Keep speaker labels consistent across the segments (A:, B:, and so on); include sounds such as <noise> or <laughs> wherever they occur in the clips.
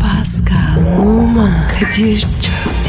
A: Pascal, Oman, Kadir çok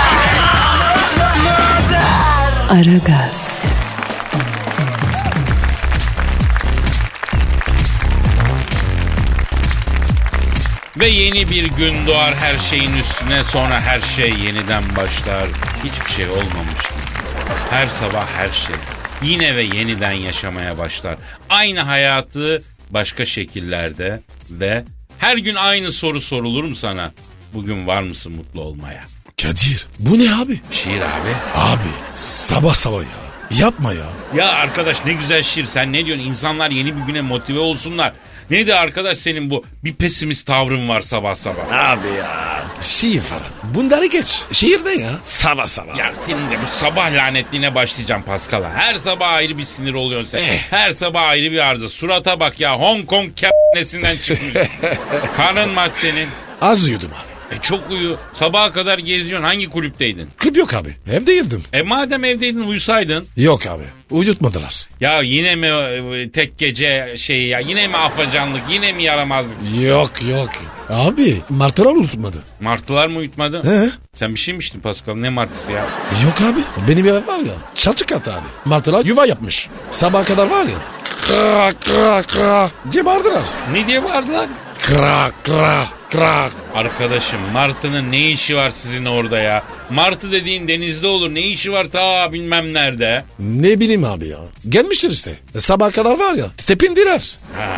A: Aragaz,
B: Ve yeni bir gün doğar her şeyin üstüne sonra her şey yeniden başlar. Hiçbir şey olmamış. gibi. Her sabah her şey. Yine ve yeniden yaşamaya başlar. Aynı hayatı başka şekillerde ve her gün aynı soru sorulur mu sana? Bugün var mısın mutlu olmaya?
C: Kadir bu ne abi?
B: Şiir abi.
C: Abi sabah sabah ya. Yapma ya.
B: Ya arkadaş ne güzel şiir sen ne diyorsun insanlar yeni bir güne motive olsunlar. Neydi arkadaş senin bu bir pesimist tavrın var sabah sabah.
C: Abi ya. Şiir falan. Bunları geç. Şiir ne ya? Sabah sabah.
B: Ya senin de bu sabah lanetliğine başlayacağım Paskal'a. Her sabah ayrı bir sinir oluyorsun sen.
C: Eh.
B: Her sabah ayrı bir arıza. Surata bak ya Hong Kong k***nesinden çıkmış. Karnın maç senin.
C: Az uyudum abi.
B: E çok uyu. Sabaha kadar geziyorsun. Hangi kulüpteydin?
C: Klip yok abi. Evde girdim.
B: E madem evdeydin uyusaydın.
C: Yok abi. Uyutmadılar.
B: Ya yine mi e, tek gece şeyi ya? Yine mi afacanlık? Yine mi yaramazlık?
C: Yok yok. Abi martılar unutmadı.
B: Martılar mı uyutmadı?
C: He?
B: Sen bir şey mi içtin Pascal? Ne martısı ya?
C: Yok abi. Benim ev var ya. Çatı katı abi. Martılar yuva yapmış. Sabaha kadar var ya. Kra kra kra diye bağırdılar.
B: Ne diye bağırdılar?
C: Kra kra kra.
B: Arkadaşım Martı'nın ne işi var sizin orada ya? Martı dediğin denizde olur. Ne işi var ta bilmem nerede.
C: Ne bileyim abi ya. Gelmişler işte. E, Sabaha kadar var ya. Tepindiler.
B: Ha.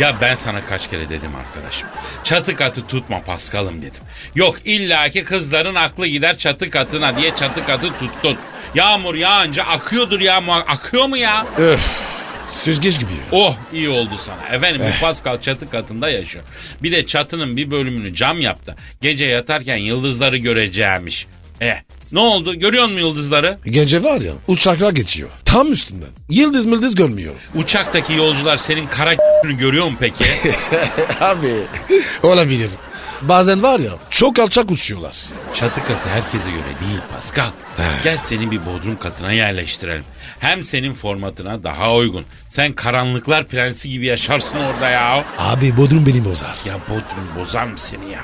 B: Ya ben sana kaç kere dedim arkadaşım. Çatı katı tutma Paskal'ım dedim. Yok illaki kızların aklı gider çatı katına diye çatı katı tuttun. Yağmur yağınca akıyordur yağmur. Akıyor mu ya?
C: Öf. Süzgeç gibi ya.
B: Oh iyi oldu sana. Efendim bu Pascal çatı katında yaşıyor. Bir de çatının bir bölümünü cam yaptı. Gece yatarken yıldızları göreceğimiş. E ne oldu? Görüyor musun yıldızları?
C: E, Gence var ya uçaklar geçiyor. Tam üstünden. Yıldız mıldız görmüyor.
B: Uçaktaki yolcular senin kara <laughs> görüyor mu peki?
C: <laughs> abi. Olabilir. Bazen var ya çok alçak uçuyorlar.
B: Çatı katı herkese göre değil Pascal. Gel seni bir bodrum katına yerleştirelim. Hem senin formatına daha uygun. Sen karanlıklar prensi gibi yaşarsın orada ya.
C: Abi Bodrum beni bozar.
B: Ya Bodrum bozar mı seni ya?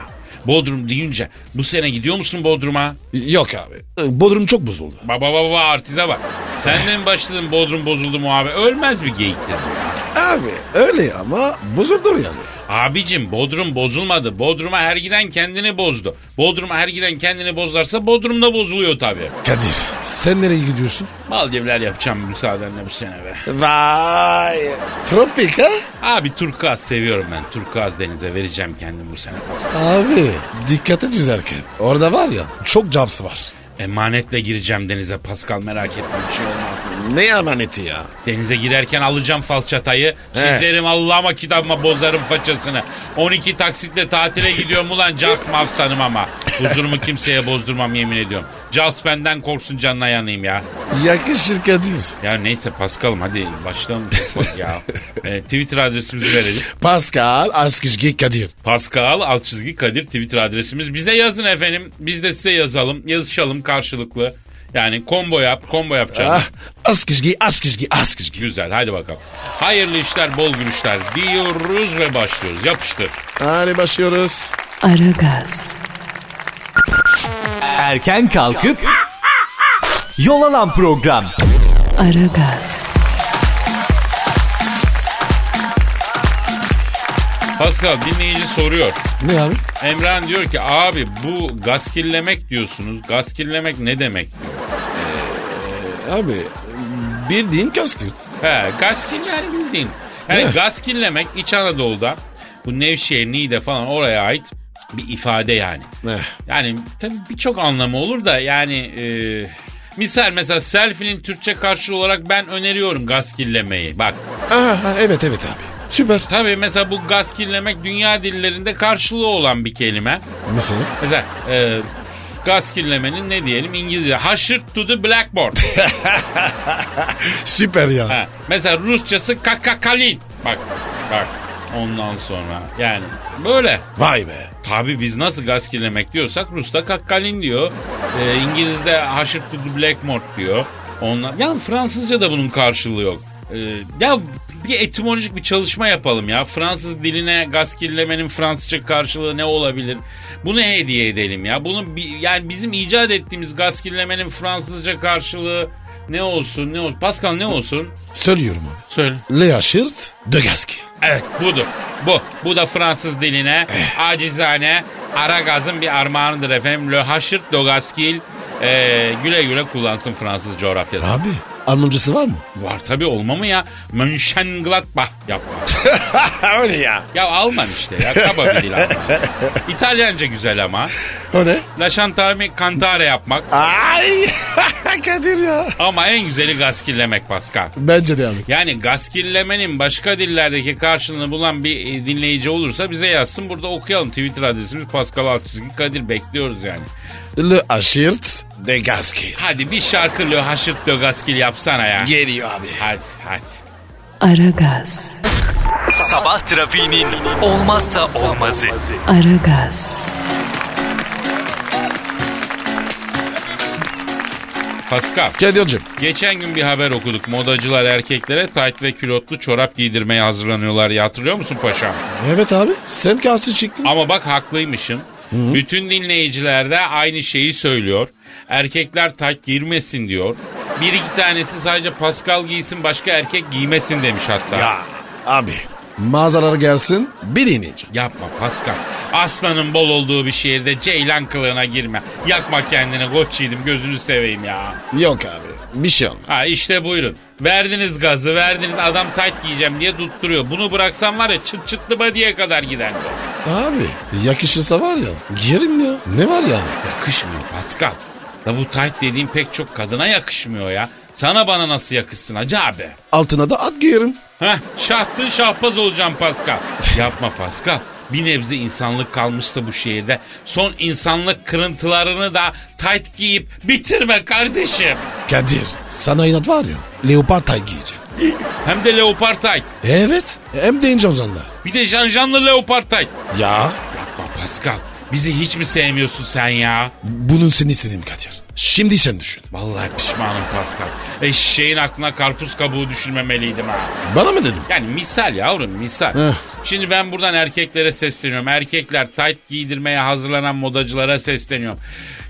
B: Bodrum deyince bu sene gidiyor musun Bodrum'a?
C: Yok abi. E, Bodrum çok bozuldu.
B: Baba baba artize bak. Sen de mi başladın Bodrum bozuldu mu abi? Ölmez bir geyiktir bu ya.
C: Abi öyle ama bozuldu yani.
B: Abicim Bodrum bozulmadı. Bodrum'a her giden kendini bozdu. Bodrum'a her giden kendini bozlarsa Bodrum da bozuluyor tabii.
C: Kadir sen nereye gidiyorsun?
B: Maldivler yapacağım müsaadenle bu sene be.
C: Vay. Tropik ha?
B: Abi turkuaz seviyorum ben. Turkuaz denize vereceğim kendimi bu sene.
C: Abi dikkat et yüzerken. Orada var ya çok cavsı var.
B: Emanetle gireceğim denize Pascal merak etme bir şey olmaz.
C: Ne emaneti ya?
B: Denize girerken alacağım falçatayı.
C: He.
B: Çizerim Allah'ıma kitabıma bozarım façasını. 12 taksitle tatile gidiyorum ulan Cas Mavstan'ım ama. Huzurumu kimseye bozdurmam yemin ediyorum. Cas benden korksun canına yanayım ya.
C: Yakışır Kadir.
B: Ya neyse Pascal'ım hadi başlayalım. Bak ya. Ee, Twitter adresimizi verelim.
C: Pascal Askizgi Kadir.
B: Pascal alt çizgi Kadir Twitter adresimiz. Bize yazın efendim. Biz de size yazalım. Yazışalım karşılıklı. Yani combo yap, combo yapacağız.
C: Ah, Askizgi Askizgi Askizgi.
B: Güzel hadi bakalım. Hayırlı işler, bol gülüşler diyoruz ve başlıyoruz. Yapıştır.
C: Hadi başlıyoruz.
A: Aragaz,
D: Erken kalkıp yol alan program.
A: Aragaz,
B: Pascal dinleyici soruyor.
C: Ne abi?
B: Emran diyor ki abi bu gaskillemek diyorsunuz. Gaskillemek ne demek?
C: Abi bildiğin kaskı.
B: He, gaskin yani bildiğin. Yani gaskillemek İç Anadolu'da bu Nevşehir, Niğde falan oraya ait bir ifade yani.
C: Eh.
B: Yani tabii birçok anlamı olur da yani e, misal mesela selfie'nin Türkçe karşılığı olarak ben öneriyorum gaskillemeyi. Bak
C: Aha, evet evet abi. Süper.
B: tabii mesela bu gaskillemek dünya dillerinde karşılığı olan bir kelime.
C: Mesela?
B: Mesela e, Gaz kirlemenin ne diyelim İngilizce. Haşırt to the blackboard.
C: Süper ya.
B: Ha, mesela Rusçası kakakalin. Bak bak ondan sonra yani böyle.
C: Vay be.
B: Tabi biz nasıl gaz kirlemek diyorsak Rus'ta kakkalin diyor. Ee, İngiliz'de haşır kudu blackmore diyor. Onlar... Ya Fransızca da bunun karşılığı yok. Ee, ya bir etimolojik bir çalışma yapalım ya. Fransız diline gaz kirlemenin Fransızca karşılığı ne olabilir? Bunu hediye edelim ya. Bunu bi- yani bizim icat ettiğimiz gaz kirlemenin Fransızca karşılığı ne olsun ne olsun? Pascal ne olsun?
C: Söylüyorum abi.
B: Söyle.
C: Lea Şırt de Gaski.
B: Evet budur. Bu. Bu da Fransız diline acizane ara gazın bir armağanıdır efendim. Le Haşırt Dogaskil e, güle güle kullansın Fransız coğrafyası.
C: Abi Almancısı var mı?
B: Var tabi olma mı ya? Mönchengladbach yapma.
C: <laughs> Öyle ya.
B: ya Alman işte ya kaba bir dil Alman. İtalyanca güzel ama.
C: O ne?
B: La Chantami Cantare yapmak
C: Ay <laughs> Kadir ya.
B: ama en güzeli gaskillemek Pascal.
C: Bence de abi.
B: Yani gaskillemenin başka dillerdeki karşılığını bulan bir e, dinleyici olursa bize yazsın. Burada okuyalım. Twitter adresimiz Pascal Altçizgi Kadir. Bekliyoruz yani.
C: Le Aşirt de Gaski.
B: Hadi bir şarkı Le Haşırt de Gaskil yapsana ya.
C: Geliyor abi.
B: Hadi hadi.
A: Aragaz,
D: Sabah trafiğinin olmazsa olmazı.
A: Aragaz,
B: Pascal.
C: Kadir'cim
B: Geçen gün bir haber okuduk. Modacılar erkeklere tayt ve külotlu çorap giydirmeye hazırlanıyorlar. Ya hatırlıyor musun paşam?
C: Evet abi sen kalsın çıktın.
B: Ama bak haklıymışım. Bütün dinleyiciler de aynı şeyi söylüyor. Erkekler tayt girmesin diyor. Bir iki tanesi sadece Pascal giysin başka erkek giymesin demiş hatta.
C: Ya abi mağazalara gelsin bir dinleyici.
B: Yapma Pascal. Aslanın bol olduğu bir şehirde ceylan kılığına girme. Yakma kendini koç yiğidim gözünü seveyim ya.
C: Yok abi bir şey olmaz.
B: Ha işte buyurun. Verdiniz gazı verdiniz adam tayt giyeceğim diye tutturuyor. Bunu bıraksan var ya çıt çıtlı badiye kadar gider bu.
C: Abi yakışırsa var ya giyerim ya. Ne var yani?
B: Yakışmıyor Pascal. La bu tayt dediğin pek çok kadına yakışmıyor ya. Sana bana nasıl yakışsın hacı abi?
C: Altına da at giyerim.
B: Heh şahtın şahbaz olacağım Pascal. Yapma Pascal. Bir nebze insanlık kalmışsa bu şehirde son insanlık kırıntılarını da tayt giyip bitirme kardeşim.
C: Kadir sana inat var ya leopar tay giyeceğim.
B: Hem de leopar tayt.
C: Evet hem de ince ozanlar.
B: Bir de janjanlı leopar tayt.
C: Ya
B: Yapma Pascal. Bizi hiç mi sevmiyorsun sen ya?
C: bunun seni istediğim Kadir. Şimdi sen düşün.
B: Vallahi pişmanım Pascal. Eşeğin aklına karpuz kabuğu düşürmemeliydim ha.
C: Bana mı dedim?
B: Yani misal yavrum misal.
C: Eh.
B: Şimdi ben buradan erkeklere sesleniyorum. Erkekler tayt giydirmeye hazırlanan modacılara sesleniyorum.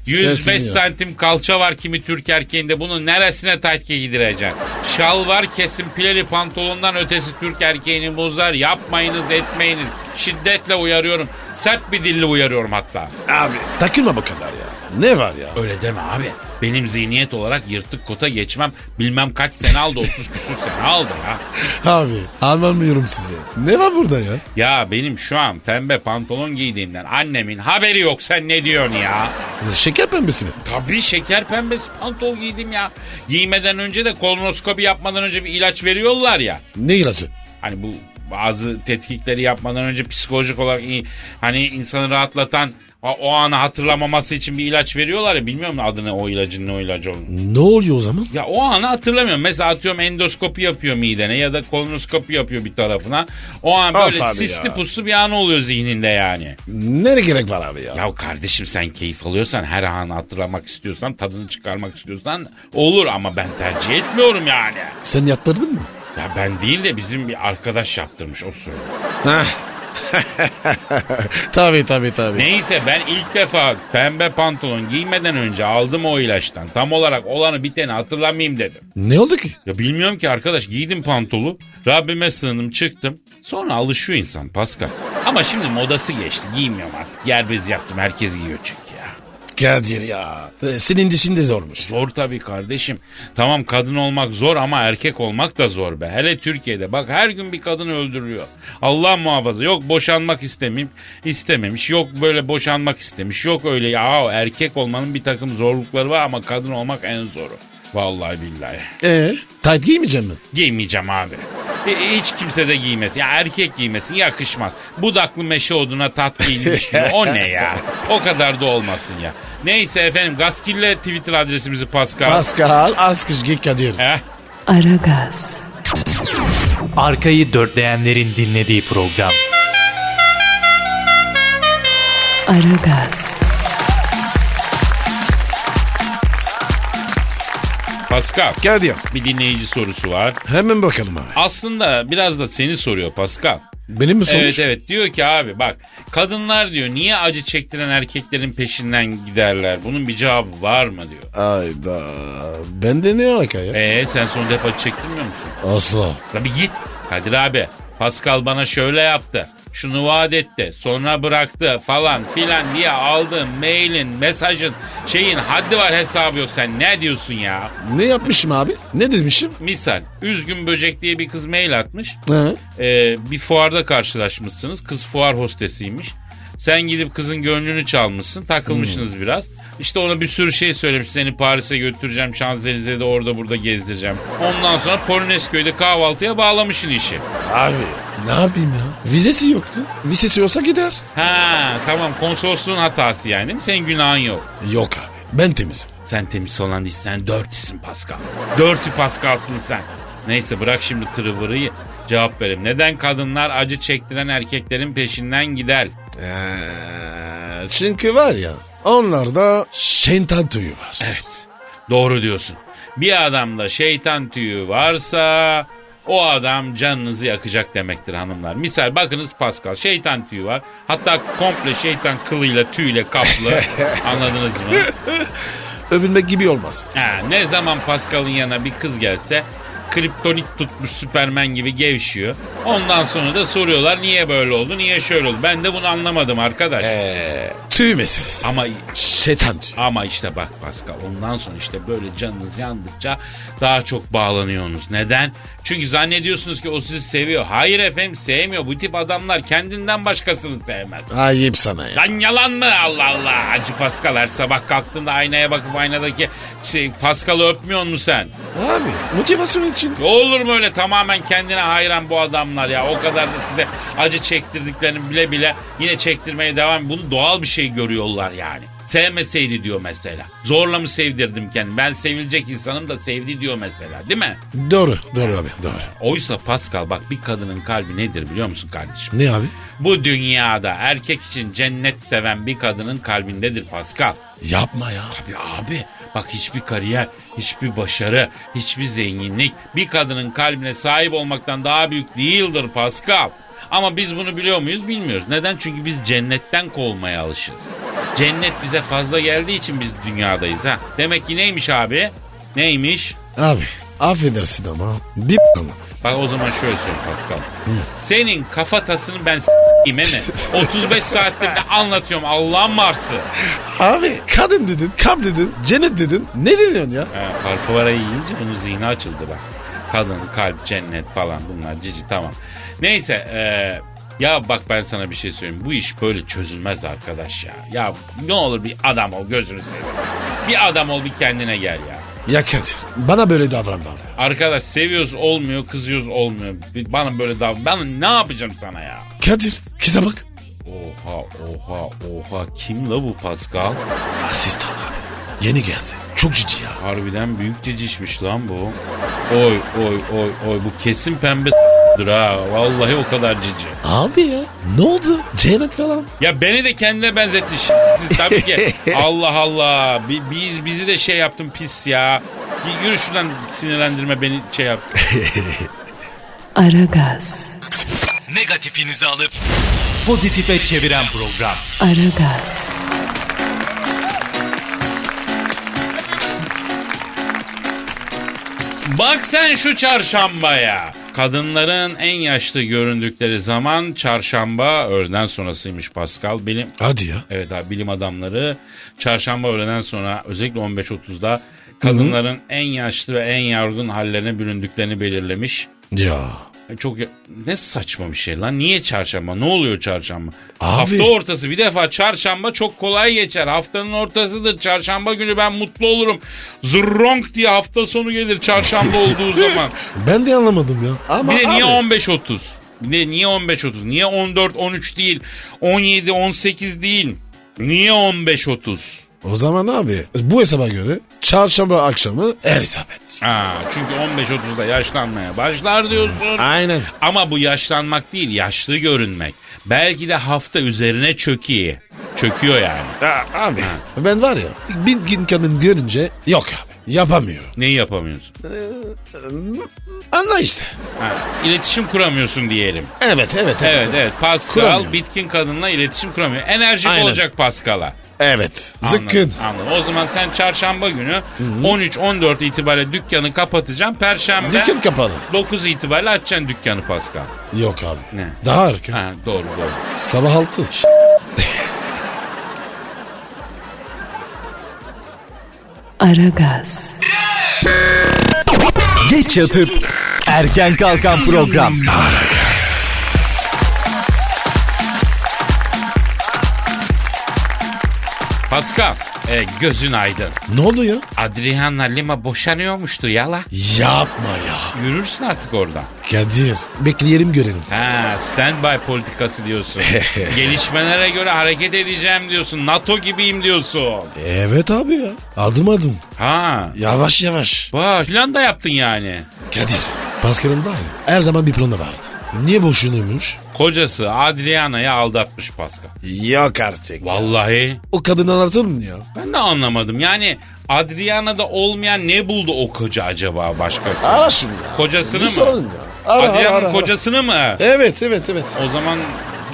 B: 105
C: Sesleniyor.
B: santim kalça var kimi Türk erkeğinde bunu neresine tayt giydireceksin? Şal var kesin pileli pantolondan ötesi Türk erkeğini bozar. Yapmayınız etmeyiniz. Şiddetle uyarıyorum. Sert bir dille uyarıyorum hatta.
C: Abi takılma bu kadar ya. Ne var ya?
B: Öyle deme abi. Benim zihniyet olarak yırtık kota geçmem bilmem kaç sene aldı 30 küsür sene aldı ya.
C: Abi anlamıyorum sizi. Ne var burada ya?
B: Ya benim şu an pembe pantolon giydiğimden annemin haberi yok sen ne diyorsun ya?
C: Şeker pembesi mi?
B: Tabii şeker pembesi pantol giydim ya. Giymeden önce de kolonoskopi yapmadan önce bir ilaç veriyorlar ya.
C: Ne ilacı?
B: Hani bu bazı tetkikleri yapmadan önce psikolojik olarak iyi, hani insanı rahatlatan o- o anı hatırlamaması için bir ilaç veriyorlar ya bilmiyorum adını o ilacın ne o ilacı olduğunu.
C: Ne oluyor o zaman?
B: Ya o anı hatırlamıyorum. Mesela atıyorum endoskopi yapıyor midene ya da kolonoskopi yapıyor bir tarafına. O an
C: Of
B: böyle
C: abi
B: sisli
C: ya.
B: puslu bir an oluyor zihninde yani.
C: Nereye gerek var abi ya?
B: Ya kardeşim sen keyif alıyorsan her anı hatırlamak istiyorsan tadını çıkarmak istiyorsan olur ama ben tercih etmiyorum yani.
C: Sen yaptırdın mı?
B: Ya ben değil de bizim bir arkadaş yaptırmış o söylüyor.
C: <laughs> tabii tabii tabii.
B: Neyse ben ilk defa pembe pantolon giymeden önce aldım o ilaçtan. Tam olarak olanı biteni hatırlamayayım dedim.
C: Ne oldu ki?
B: Ya bilmiyorum ki arkadaş giydim pantolu. Rabbime sığındım çıktım. Sonra alışıyor insan Pascal. Ama şimdi modası geçti giymiyorum artık. Yer bezi yaptım herkes giyiyor çünkü ya.
C: Kadir ya. Ee, Senin dişin de zormuş.
B: Zor tabii kardeşim. Tamam kadın olmak zor ama erkek olmak da zor be. Hele Türkiye'de bak her gün bir kadın öldürüyor. Allah muhafaza yok boşanmak istemeyim istememiş. Yok böyle boşanmak istemiş. Yok öyle ya erkek olmanın bir takım zorlukları var ama kadın olmak en zoru. Vallahi billahi.
C: Ee? Tayt giymeyeceğim mi?
B: Giymeyeceğim abi. E, hiç kimse de giymesin. Ya erkek giymesin yakışmaz. Budaklı meşe oduna tat giyilmiş gibi. O ne ya? O kadar da olmasın ya. Neyse efendim Gaskille Twitter adresimizi Pascal. Eh?
C: Pascal Askışgi Kadir.
B: Heh.
A: Aragaz,
D: Arkayı dörtleyenlerin dinlediği program.
A: Aragaz,
B: Pascal.
C: Kadir.
B: Bir dinleyici sorusu var.
C: Hemen bakalım abi.
B: Aslında biraz da seni soruyor Pascal.
C: Benim mi sonuç?
B: Evet evet diyor ki abi bak kadınlar diyor niye acı çektiren erkeklerin peşinden giderler? Bunun bir cevabı var mı diyor.
C: Ayda. Bende ne alaka ya?
B: Eee sen sonunda hep acı çektirmiyor musun?
C: Asla.
B: La bir git. Kadir abi Pascal bana şöyle yaptı. Şunu vaat etti. Sonra bıraktı falan filan diye aldığın mailin, mesajın, şeyin haddi var hesabı yok. Sen ne diyorsun ya?
C: Ne yapmışım abi? Ne demişim?
B: Misal üzgün böcek diye bir kız mail atmış.
C: Hı.
B: Ee, bir fuarda karşılaşmışsınız. Kız fuar hostesiymiş. Sen gidip kızın gönlünü çalmışsın. Takılmışsınız biraz. İşte ona bir sürü şey söylemiş. Seni Paris'e götüreceğim. Şanzelize'de orada burada gezdireceğim. Ondan sonra Polonezköy'de kahvaltıya bağlamışsın işi.
C: Abi ne yapayım ya? Vizesi yoktu. Vizesi olsa gider.
B: Ha tamam konsolosluğun hatası yani değil mi? Senin günahın yok.
C: Yok abi. Ben temizim.
B: Sen temiz olan değil sen dörtüsün Pascal. Dörtü Pascal'sın sen. Neyse bırak şimdi tırıvırıyı cevap verim. Neden kadınlar acı çektiren erkeklerin peşinden gider?
C: Ee, çünkü var ya onlarda şeytan tüyü var.
B: Evet. Doğru diyorsun. Bir adamda şeytan tüyü varsa o adam canınızı yakacak demektir hanımlar. Misal bakınız Pascal şeytan tüyü var. Hatta komple şeytan kılıyla tüyle kaplı. Anladınız mı?
C: Övünmek gibi olmaz.
B: Ha, ne zaman Pascal'ın yanına bir kız gelse kriptonit tutmuş Süpermen gibi gevşiyor. Ondan sonra da soruyorlar niye böyle oldu, niye şöyle oldu. Ben de bunu anlamadım arkadaş.
C: Ee, tüy meselesi.
B: Ama
C: Şeytan tüyü.
B: ama işte bak Pascal ondan sonra işte böyle canınız yandıkça daha çok bağlanıyorsunuz. Neden? Çünkü zannediyorsunuz ki o sizi seviyor. Hayır efendim sevmiyor. Bu tip adamlar kendinden başkasını sevmez.
C: Ayıp sana ya.
B: Lan yalan mı? Allah Allah. Acı Pascal her sabah kalktığında aynaya bakıp aynadaki şey, Pascal'ı öpmüyor musun sen?
C: Abi motivasyon için.
B: Olur mu öyle tamamen kendine hayran bu adamlar ya. O kadar da size acı çektirdiklerini bile bile yine çektirmeye devam. Bunu doğal bir şey görüyorlar yani. Sevmeseydi diyor mesela. Zorla mı sevdirdim kendimi? Ben sevilecek insanım da sevdi diyor mesela değil mi?
C: Doğru. Doğru abi doğru.
B: Oysa Pascal bak bir kadının kalbi nedir biliyor musun kardeşim?
C: Ne abi?
B: Bu dünyada erkek için cennet seven bir kadının kalbindedir Pascal.
C: Yapma ya.
B: Abi abi bak hiçbir kariyer, hiçbir başarı, hiçbir zenginlik bir kadının kalbine sahip olmaktan daha büyük değildir Pascal. Ama biz bunu biliyor muyuz bilmiyoruz. Neden? Çünkü biz cennetten kovmaya alışırız. Cennet bize fazla geldiği için biz dünyadayız ha. Demek ki neymiş abi? Neymiş?
C: Abi affedersin ama bir ama.
B: Bak o zaman şöyle söyleyeyim Pascal. Senin kafatasını ben s**eyim he mi? 35 saattir ne anlatıyorum Allah'ın Mars'ı.
C: Abi kadın dedin, kap dedin, cennet dedin. Ne deniyorsun ya?
B: Ha, Karpuvara yiyince bunun zihni açıldı bak. Kadın, kalp, cennet falan bunlar cici tamam. Neyse eee, ya bak ben sana bir şey söyleyeyim. Bu iş böyle çözülmez arkadaş ya. Ya ne olur bir adam ol gözünü seveyim. Bir adam ol bir kendine gel ya.
C: Ya Kadir bana böyle davranma. abi.
B: Arkadaş seviyoruz olmuyor kızıyoruz olmuyor. Bana böyle davran. Ben ne yapacağım sana ya?
C: Kadir kıza bak.
B: Oha oha oha kim la bu Pascal?
C: Asistan abi. Yeni geldi. Çok cici ya.
B: Harbiden büyük cicişmiş lan bu. Oy oy oy oy bu kesin pembe s**tir ha. Vallahi o kadar cici.
C: Abi ya ne oldu? Cennet falan.
B: Ya beni de kendine benzetti siz tabii ki. Allah Allah. Bi- Biz, bizi de şey yaptın pis ya. Y- Yürü şuradan sinirlendirme beni şey yap.
A: Aragaz,
D: Negatifinizi alıp pozitife çeviren program.
A: Aragaz,
B: Bak sen şu çarşambaya. Kadınların en yaşlı göründükleri zaman çarşamba öğleden sonrasıymış Pascal. Benim
C: <laughs> Hadi ya.
B: Evet abi bilim adamları çarşamba öğleden sonra özellikle 15.30'da kadınların en yaşlı ve en yorgun hallerine büründüklerini belirlemiş. E,
C: Ya
B: Çok ya- ne saçma bir şey lan. Niye çarşamba? Ne oluyor çarşamba?
C: Abi.
B: Hafta ortası bir defa çarşamba çok kolay geçer. Haftanın ortasıdır. Çarşamba günü ben mutlu olurum. Zırronk diye hafta sonu gelir
C: <laughs>
B: çarşamba olduğu zaman.
C: Ben de anlamadım ya. Ama
B: bir de niye
C: abi-
B: 15.30? Bir de niye 15.30? Niye 14-13 değil? 17-18 değil? Niye 15.30?
C: O zaman abi bu hesaba göre çarşamba akşamı Elizabeth.
B: Ha, çünkü 15-30'da yaşlanmaya başlar diyorsun.
C: Aynen.
B: Ama bu yaşlanmak değil, yaşlı görünmek. Belki de hafta üzerine çöküyor. Çöküyor yani.
C: abi. Ben var ya bir gün kadın görünce yok abi yapamıyorum.
B: Neyi yapamıyorsun?
C: Anla işte.
B: Ha, iletişim kuramıyorsun diyelim.
C: Evet evet
B: Evet evet. Pascal
C: Kuramıyorum.
B: bitkin kadınla iletişim kuramıyor. Enerjik
C: Aynen.
B: olacak Pascal'a.
C: Evet.
B: Anladım,
C: Zıkkın.
B: Anladım. O zaman sen çarşamba günü 13-14 itibariyle dükkanı kapatacaksın. Perşembe
C: Dükkan kapalı.
B: 9 itibariyle açacaksın dükkanı Pascal.
C: Yok abi.
B: Ne?
C: Daha erken.
B: Ha, doğru doğru.
C: Sabah altı.
A: Aragaz,
D: Geç yatıp erken kalkan program.
B: Pascal e, gözün aydın.
C: Ne oldu ya?
B: Adriana Lima boşanıyormuştu yala.
C: Yapma ya.
B: Yürürsün artık oradan.
C: Kadir. Bekleyelim görelim.
B: Ha, standby politikası <laughs> diyorsun. Gelişmelere göre hareket edeceğim diyorsun. NATO gibiyim diyorsun.
C: Evet abi ya. Adım adım.
B: Ha.
C: Yavaş yavaş.
B: Bak plan da yaptın yani.
C: Kadir. Pascal'ın var ya her zaman bir planı vardı. Niye boşanıyormuş?
B: Kocası Adriana'yı aldatmış Pascal.
C: Yok artık.
B: Vallahi
C: O kadını anlatır mı ya?
B: ben de anlamadım. Yani Adriana'da olmayan ne buldu o koca acaba başkası?
C: Ara şimdi ya.
B: Kocasını
C: Bir
B: mı?
C: soralım ya. Ara,
B: Adriana'nın
C: ara, ara, ara.
B: kocasını mı?
C: Evet evet evet.
B: O zaman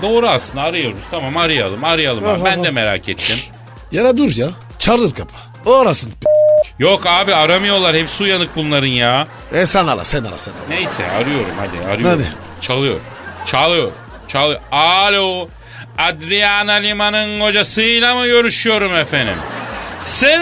B: doğru aslında arıyoruz. Tamam arayalım arayalım. abi.
C: Aha,
B: ben de
C: aha.
B: merak ettim.
C: Yara dur ya. Çardır kapı. O arasın.
B: Yok abi aramıyorlar. Hepsi uyanık bunların ya.
C: E sen ara sen ara sen ara.
B: Neyse arıyorum hadi arıyorum.
C: Hadi.
B: Çalıyor. Çalıyor. Çalıyor. Alo. Adriana Lima'nın kocasıyla mı görüşüyorum efendim?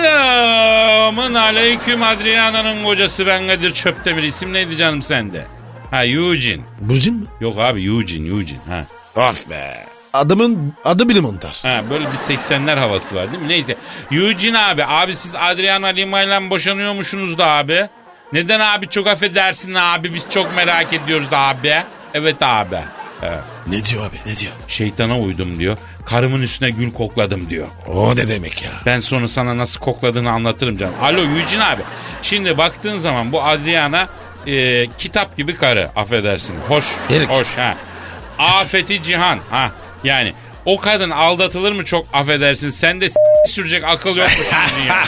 B: Selamın aleyküm Adriana'nın kocası ben Kadir Çöptemir. İsim neydi canım sende? Ha Eugene.
C: Burcun mu?
B: Yok abi Eugene Eugene. Ha.
C: Of be. Adamın adı bile mantar.
B: Ha böyle bir 80'ler havası var değil mi? Neyse. Eugene abi. Abi siz Adriana Lima ile boşanıyormuşsunuz da abi. Neden abi çok affedersin abi biz çok merak ediyoruz da abi. Evet abi. He.
C: Ne diyor abi ne diyor?
B: Şeytana uydum diyor. Karımın üstüne gül kokladım diyor.
C: O ne demek ya?
B: Ben sonra sana nasıl kokladığını anlatırım canım. Alo Eugene abi. Şimdi baktığın zaman bu Adriana e, kitap gibi karı affedersin. Hoş.
C: Erik.
B: Hoş ha. Afeti Cihan ha. Yani o kadın aldatılır mı çok affedersin. Sen de s- sürecek akıl yok mu senin ya?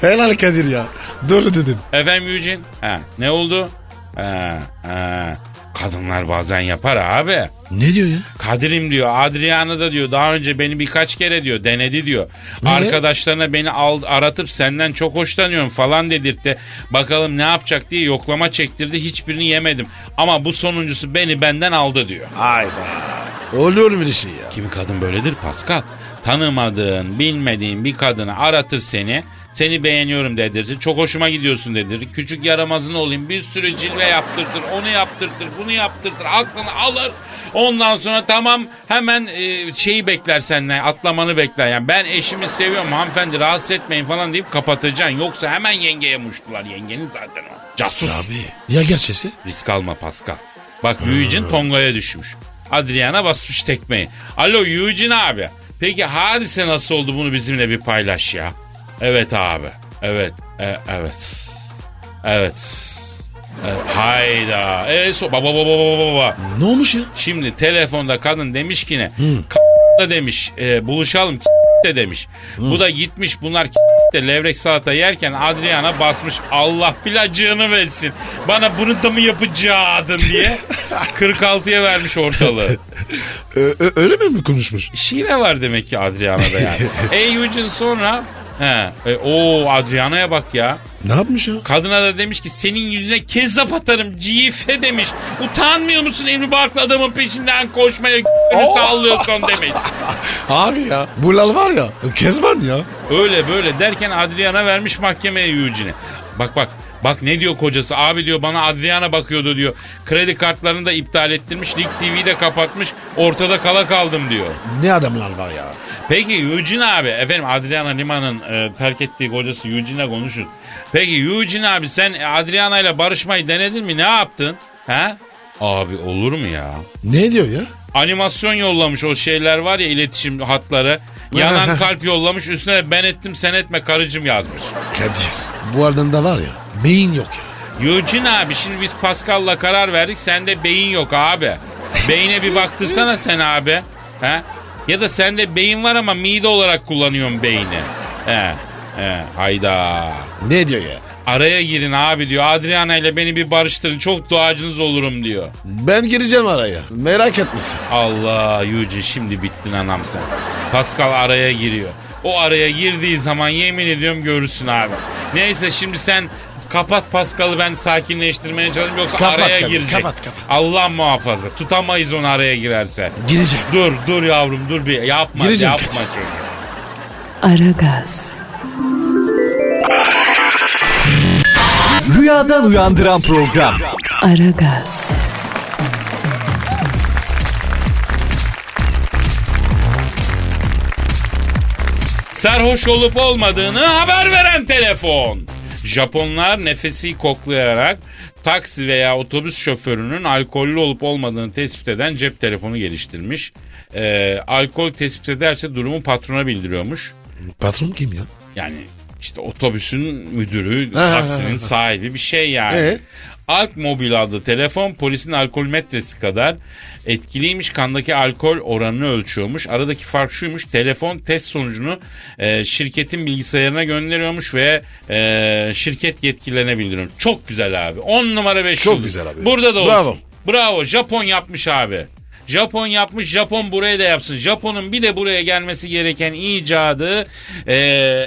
C: Helal Kadir ya. Doğru dedin.
B: Efendim Eugene? Ha, ne oldu? Ha, ha. Kadınlar bazen yapar abi.
C: Ne diyor ya?
B: Kadir'im diyor Adriana da diyor daha önce beni birkaç kere diyor denedi diyor.
C: Niye?
B: Arkadaşlarına beni al, aratıp senden çok hoşlanıyorum falan dedirtti. Bakalım ne yapacak diye yoklama çektirdi hiçbirini yemedim. Ama bu sonuncusu beni benden aldı diyor.
C: Hayda. Olur mu bir şey ya?
B: Kimi kadın böyledir Pascal. Tanımadığın, bilmediğin bir kadını aratır seni. Seni beğeniyorum dedirtir. Çok hoşuma gidiyorsun dedirtir. Küçük yaramazın olayım. Bir sürü cilve yaptırtır. Onu yaptırtır. Bunu yaptırtır. Aklını alır. Ondan sonra tamam hemen e, şeyi bekler senden. Atlamanı bekler. Yani ben eşimi seviyorum hanımefendi rahatsız etmeyin falan deyip kapatacaksın. Yoksa hemen yengeye muştular. Yengenin zaten o. Casus.
C: Abi. Ya gerçesi?
B: Risk alma Pascal. Bak Eugene Tonga'ya düşmüş. Adriana basmış tekmeyi. Alo Eugene abi. Peki hadise nasıl oldu bunu bizimle bir paylaş ya. Evet abi. Evet. E, evet. Evet. E, hayda. E, so, baba baba baba baba.
C: Ne olmuş ya?
B: Şimdi telefonda kadın demiş ki ne? K- da demiş e, buluşalım k- de demiş. Bu da gitmiş bunlar k- de levrek salata yerken Adriana basmış Allah bilacığını versin. Bana bunu da mı yapacaktın diye 46'ya vermiş ortalığı.
C: Ö- ö- öyle mi konuşmuş?
B: Şive var demek ki Adriana'da yani. e Eugene sonra He, e, o Adriana'ya bak ya.
C: Ne yapmış ya?
B: Kadına da demiş ki senin yüzüne kezzap atarım cife demiş. Utanmıyor musun evli barklı adamın peşinden koşmaya g***ni sallıyorsun demiş.
C: Abi ya. Bu lal var ya. Kezban ya.
B: Öyle böyle derken Adriana vermiş mahkemeye Eugene. Bak bak Bak ne diyor kocası abi diyor bana Adriana bakıyordu diyor. Kredi kartlarını da iptal ettirmiş. Lig TV'yi de kapatmış. Ortada kala kaldım diyor.
C: Ne adamlar var ya.
B: Peki Eugene abi efendim Adriana Lima'nın e, terk ettiği kocası Eugene'le konuşur. Peki Eugene abi sen Adriana ile barışmayı denedin mi ne yaptın? Ha? Abi olur mu ya?
C: Ne diyor ya?
B: Animasyon yollamış o şeyler var ya iletişim hatları. Yanan kalp yollamış üstüne de ben ettim sen etme karıcım yazmış.
C: Kadir. Bu adamda var ya beyin yok ya.
B: Eugene abi şimdi biz Pascal'la karar verdik sende beyin yok abi. Beyine bir baktırsana sen abi. He? Ya da sende beyin var ama mide olarak kullanıyorsun beyni. He. He. Hayda.
C: Ne diyor ya?
B: Araya girin abi diyor. Adriana ile beni bir barıştırın. Çok duacınız olurum diyor.
C: Ben gireceğim araya. Merak etmesin.
B: Allah Eugene şimdi bittin anam sen. Pascal araya giriyor. O araya girdiği zaman yemin ediyorum görürsün abi. Neyse şimdi sen kapat Pascal'ı ben sakinleştirmeye çalışayım yoksa
C: Kapat
B: araya
C: tabii,
B: girecek.
C: kapat, kapat.
B: Allah muhafaza tutamayız onu araya girerse.
C: Gireceğim.
B: Dur dur yavrum dur bir yapma
C: Gireceğim,
B: yapma
C: kaçacağım.
B: çocuğum.
A: Aragaz,
D: Rüyadan uyandıran program.
A: Aragaz,
B: Sarhoş olup olmadığını haber veren telefon. Japonlar nefesi koklayarak taksi veya otobüs şoförünün alkollü olup olmadığını tespit eden cep telefonu geliştirmiş. Ee, alkol tespit ederse durumu patrona bildiriyormuş.
C: Patron kim ya?
B: Yani işte otobüsün
C: <laughs>
B: müdürü, taksinin sahibi bir şey yani.
C: Ee?
B: Alk mobil adlı telefon polisin alkol metresi kadar etkiliymiş. Kandaki alkol oranını ölçüyormuş. Aradaki fark şuymuş. Telefon test sonucunu e, şirketin bilgisayarına gönderiyormuş ve e, şirket yetkililerine bildiriyormuş. Çok güzel abi. 10 numara 5
C: Çok güzel abi.
B: Burada da olsun.
C: Bravo.
B: Bravo. Japon yapmış abi. Japon yapmış, Japon buraya da yapsın. Japon'un bir de buraya gelmesi gereken icadı e,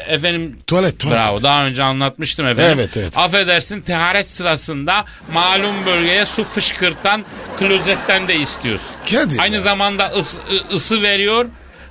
B: efendim
C: Tuvalet, tuvalet.
B: Bravo. Daha önce anlatmıştım efendim.
C: Evet, evet.
B: Affedersin teharet sırasında malum bölgeye su fışkırtan klozetten de istiyorsun.
C: Kadir
B: Aynı
C: ya.
B: zamanda ıs- ı- ısı veriyor.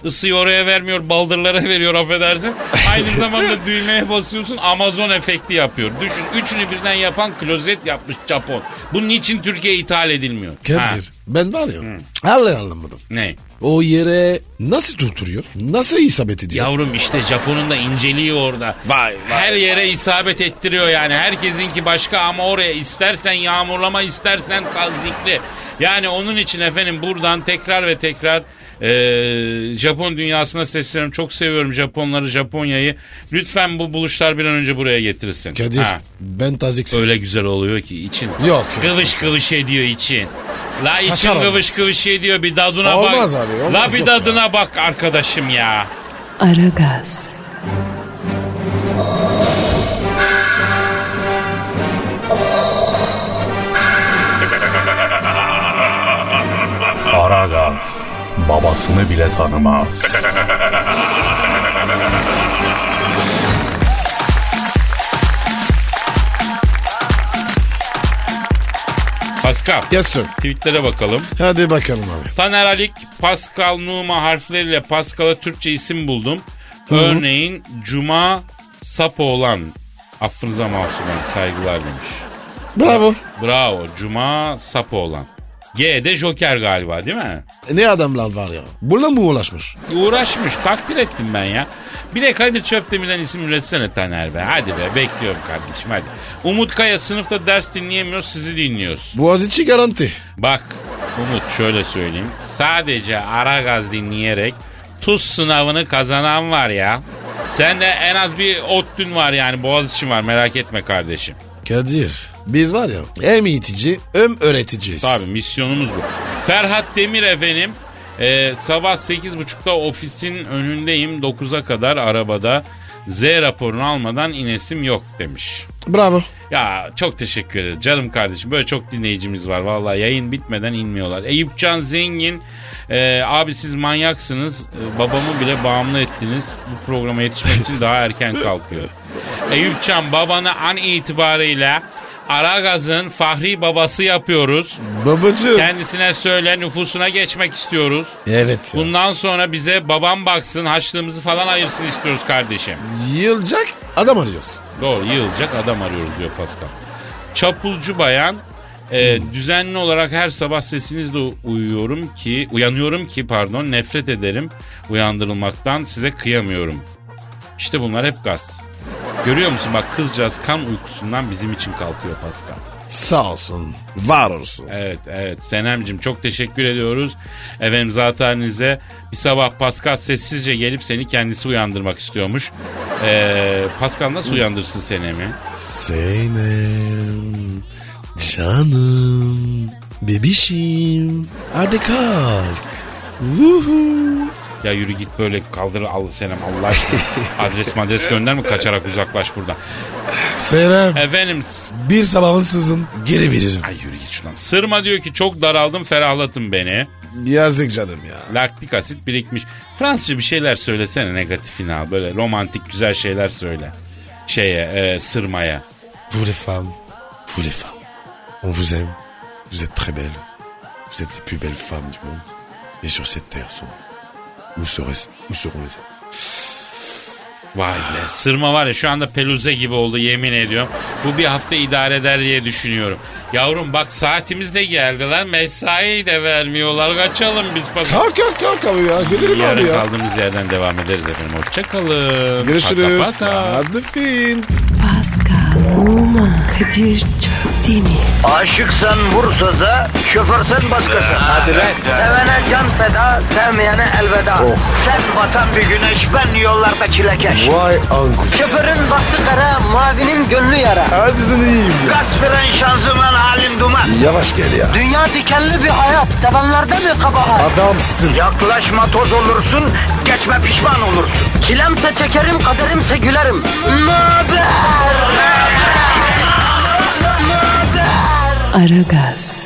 B: Isıyı oraya vermiyor, baldırlara <laughs> veriyor affedersin. Aynı zamanda düğmeye basıyorsun, Amazon efekti yapıyor. Düşün, üçünü birden yapan klozet yapmış Japon. Bunun için Türkiye ithal edilmiyor. Ha, Hmm.
C: Kadir. Ben var ya. Allah anlamadım.
B: ne?
C: O yere nasıl tutturuyor? Nasıl isabet ediyor?
B: Yavrum işte Japon'un da inceliği orada.
C: Vay, vay,
B: Her yere isabet ettiriyor yani. Herkesinki başka ama oraya istersen yağmurlama istersen tazikli. Yani onun için efendim buradan tekrar ve tekrar e, Japon dünyasına sesleniyorum. Çok seviyorum Japonları, Japonya'yı. Lütfen bu buluşlar bir an önce buraya getirilsin.
C: Kadir.
B: Ha.
C: Ben tazik
B: Öyle güzel oluyor ki için.
C: yok.
B: Kıvış kıvış ediyor için. La için
C: Kaçar
B: kıvış
C: olmaz.
B: kıvış ediyor bir dadına bak.
C: Olmaz abi, olmaz,
B: La bir
C: yok
B: dadına bak arkadaşım ya.
A: Aragaz,
E: Aragaz babasını bile tanımaz.
B: Pascal.
C: Yes sir.
B: Tweetlere bakalım.
C: Hadi bakalım abi.
B: Taner Alik, Pascal Numa harfleriyle Pascal'a Türkçe isim buldum. Örneğin Cuma Sapoğlan. Affınıza mahsulen saygılar demiş.
C: Bravo.
B: Bravo Cuma Sapoğlan. G de Joker galiba değil mi?
C: Ne adamlar var ya. Buna mı ulaşmış?
B: Uğraşmış takdir ettim ben ya. Bir de Kadir Çöpdemir'den isim üretsene Taner be. Hadi be bekliyorum kardeşim hadi. Umut Kaya sınıfta ders dinleyemiyor sizi dinliyoruz.
C: Boğaziçi garanti.
B: Bak Umut şöyle söyleyeyim. Sadece ara gaz dinleyerek tuz sınavını kazanan var ya. Sen de en az bir ODTÜ'n var yani Boğaziçi'nin var merak etme kardeşim.
C: Kadir. Biz var ya hem eğitici hem öğreticiyiz.
B: Tabii misyonumuz bu. Ferhat Demir efendim. Ee, sabah 8.30'da ofisin önündeyim 9'a kadar arabada Z raporunu almadan inesim yok demiş.
C: Bravo.
B: Ya çok teşekkür ederim canım kardeşim. Böyle çok dinleyicimiz var. Vallahi yayın bitmeden inmiyorlar. Eyüpcan Zengin. e, abi siz manyaksınız. E, babamı bile bağımlı ettiniz. Bu programa yetişmek için daha erken kalkıyor. Eyüpcan babanı an itibariyle Aragaz'ın fahri babası yapıyoruz.
C: Babacığım.
B: Kendisine söyle nüfusuna geçmek istiyoruz.
C: Evet. ya.
B: Bundan sonra bize babam baksın haçlığımızı falan ayırsın istiyoruz kardeşim.
C: Yılacak adam arıyoruz.
B: Doğru yığılacak adam arıyoruz diyor Pascal. Çapulcu bayan e, düzenli olarak her sabah sesinizle uyuyorum ki uyanıyorum ki pardon nefret ederim uyandırılmaktan size kıyamıyorum. İşte bunlar hep gaz. Görüyor musun bak kızcağız kan uykusundan bizim için kalkıyor Pascal.
C: Sağ olsun. Var olsun.
B: Evet evet Senemcim çok teşekkür ediyoruz. Efendim zatenize bir sabah Pascal sessizce gelip seni kendisi uyandırmak istiyormuş. Ee, Pascal nasıl uyandırsın Senem'i?
C: Zeynep. Canım. Bebişim. Hadi kalk. Vuhu.
B: Ya yürü git böyle kaldır al Senem Allah aşkına. Adres madres gönderme kaçarak uzaklaş buradan.
C: Selam.
B: Efendim s-
C: Bir sabahın sızın. Geri veririm.
B: ay yürü git şuradan. Sırma diyor ki çok daraldım ferahlatın beni.
C: Yazık canım ya.
B: Laktik asit birikmiş. Fransızca bir şeyler söylesene negatifini al. Böyle romantik güzel şeyler söyle. Şeye e, sırmaya.
C: Vous les femmes. Vous les femmes. On vous aime. Vous êtes très belles. Vous êtes les plus belles femmes du monde. Et sur cette terre sont. Vous serez, vous serons les hommes.
B: Vay be sırma var ya şu anda peluze gibi oldu yemin ediyorum. Bu bir hafta idare eder diye düşünüyorum. Yavrum bak saatimiz de geldi lan mesai de vermiyorlar kaçalım biz. Pascal.
C: Kalk kalk kalk abi ya. Gidelim abi
B: Yarın
C: ya.
B: kaldığımız yerden devam ederiz efendim. Hoşçakalın.
C: Görüşürüz.
B: Paka paka.
C: Hadi fint.
A: Pascal, Oman, Kadir çok değil mi?
F: Aşıksan vursa da, şoförsen başkasın. Hadi Sevene can feda, sevmeyene elveda. Sen batan bir güneş, ben yollarda çilekeş.
C: Vay anku.
F: Şoförün baktı kara, mavinin gönlü yara.
C: Hadi sen iyiyim ya.
F: Kasperen şanzıman halin duman.
C: Yavaş gel ya.
F: Dünya dikenli bir hayat, sevenlerde mi kabahar?
C: Adamsın.
F: Yaklaşma toz olursun, geçme pişman olursun. Çilemse çekerim, kaderimse gülerim. Möber!
A: Aragaz.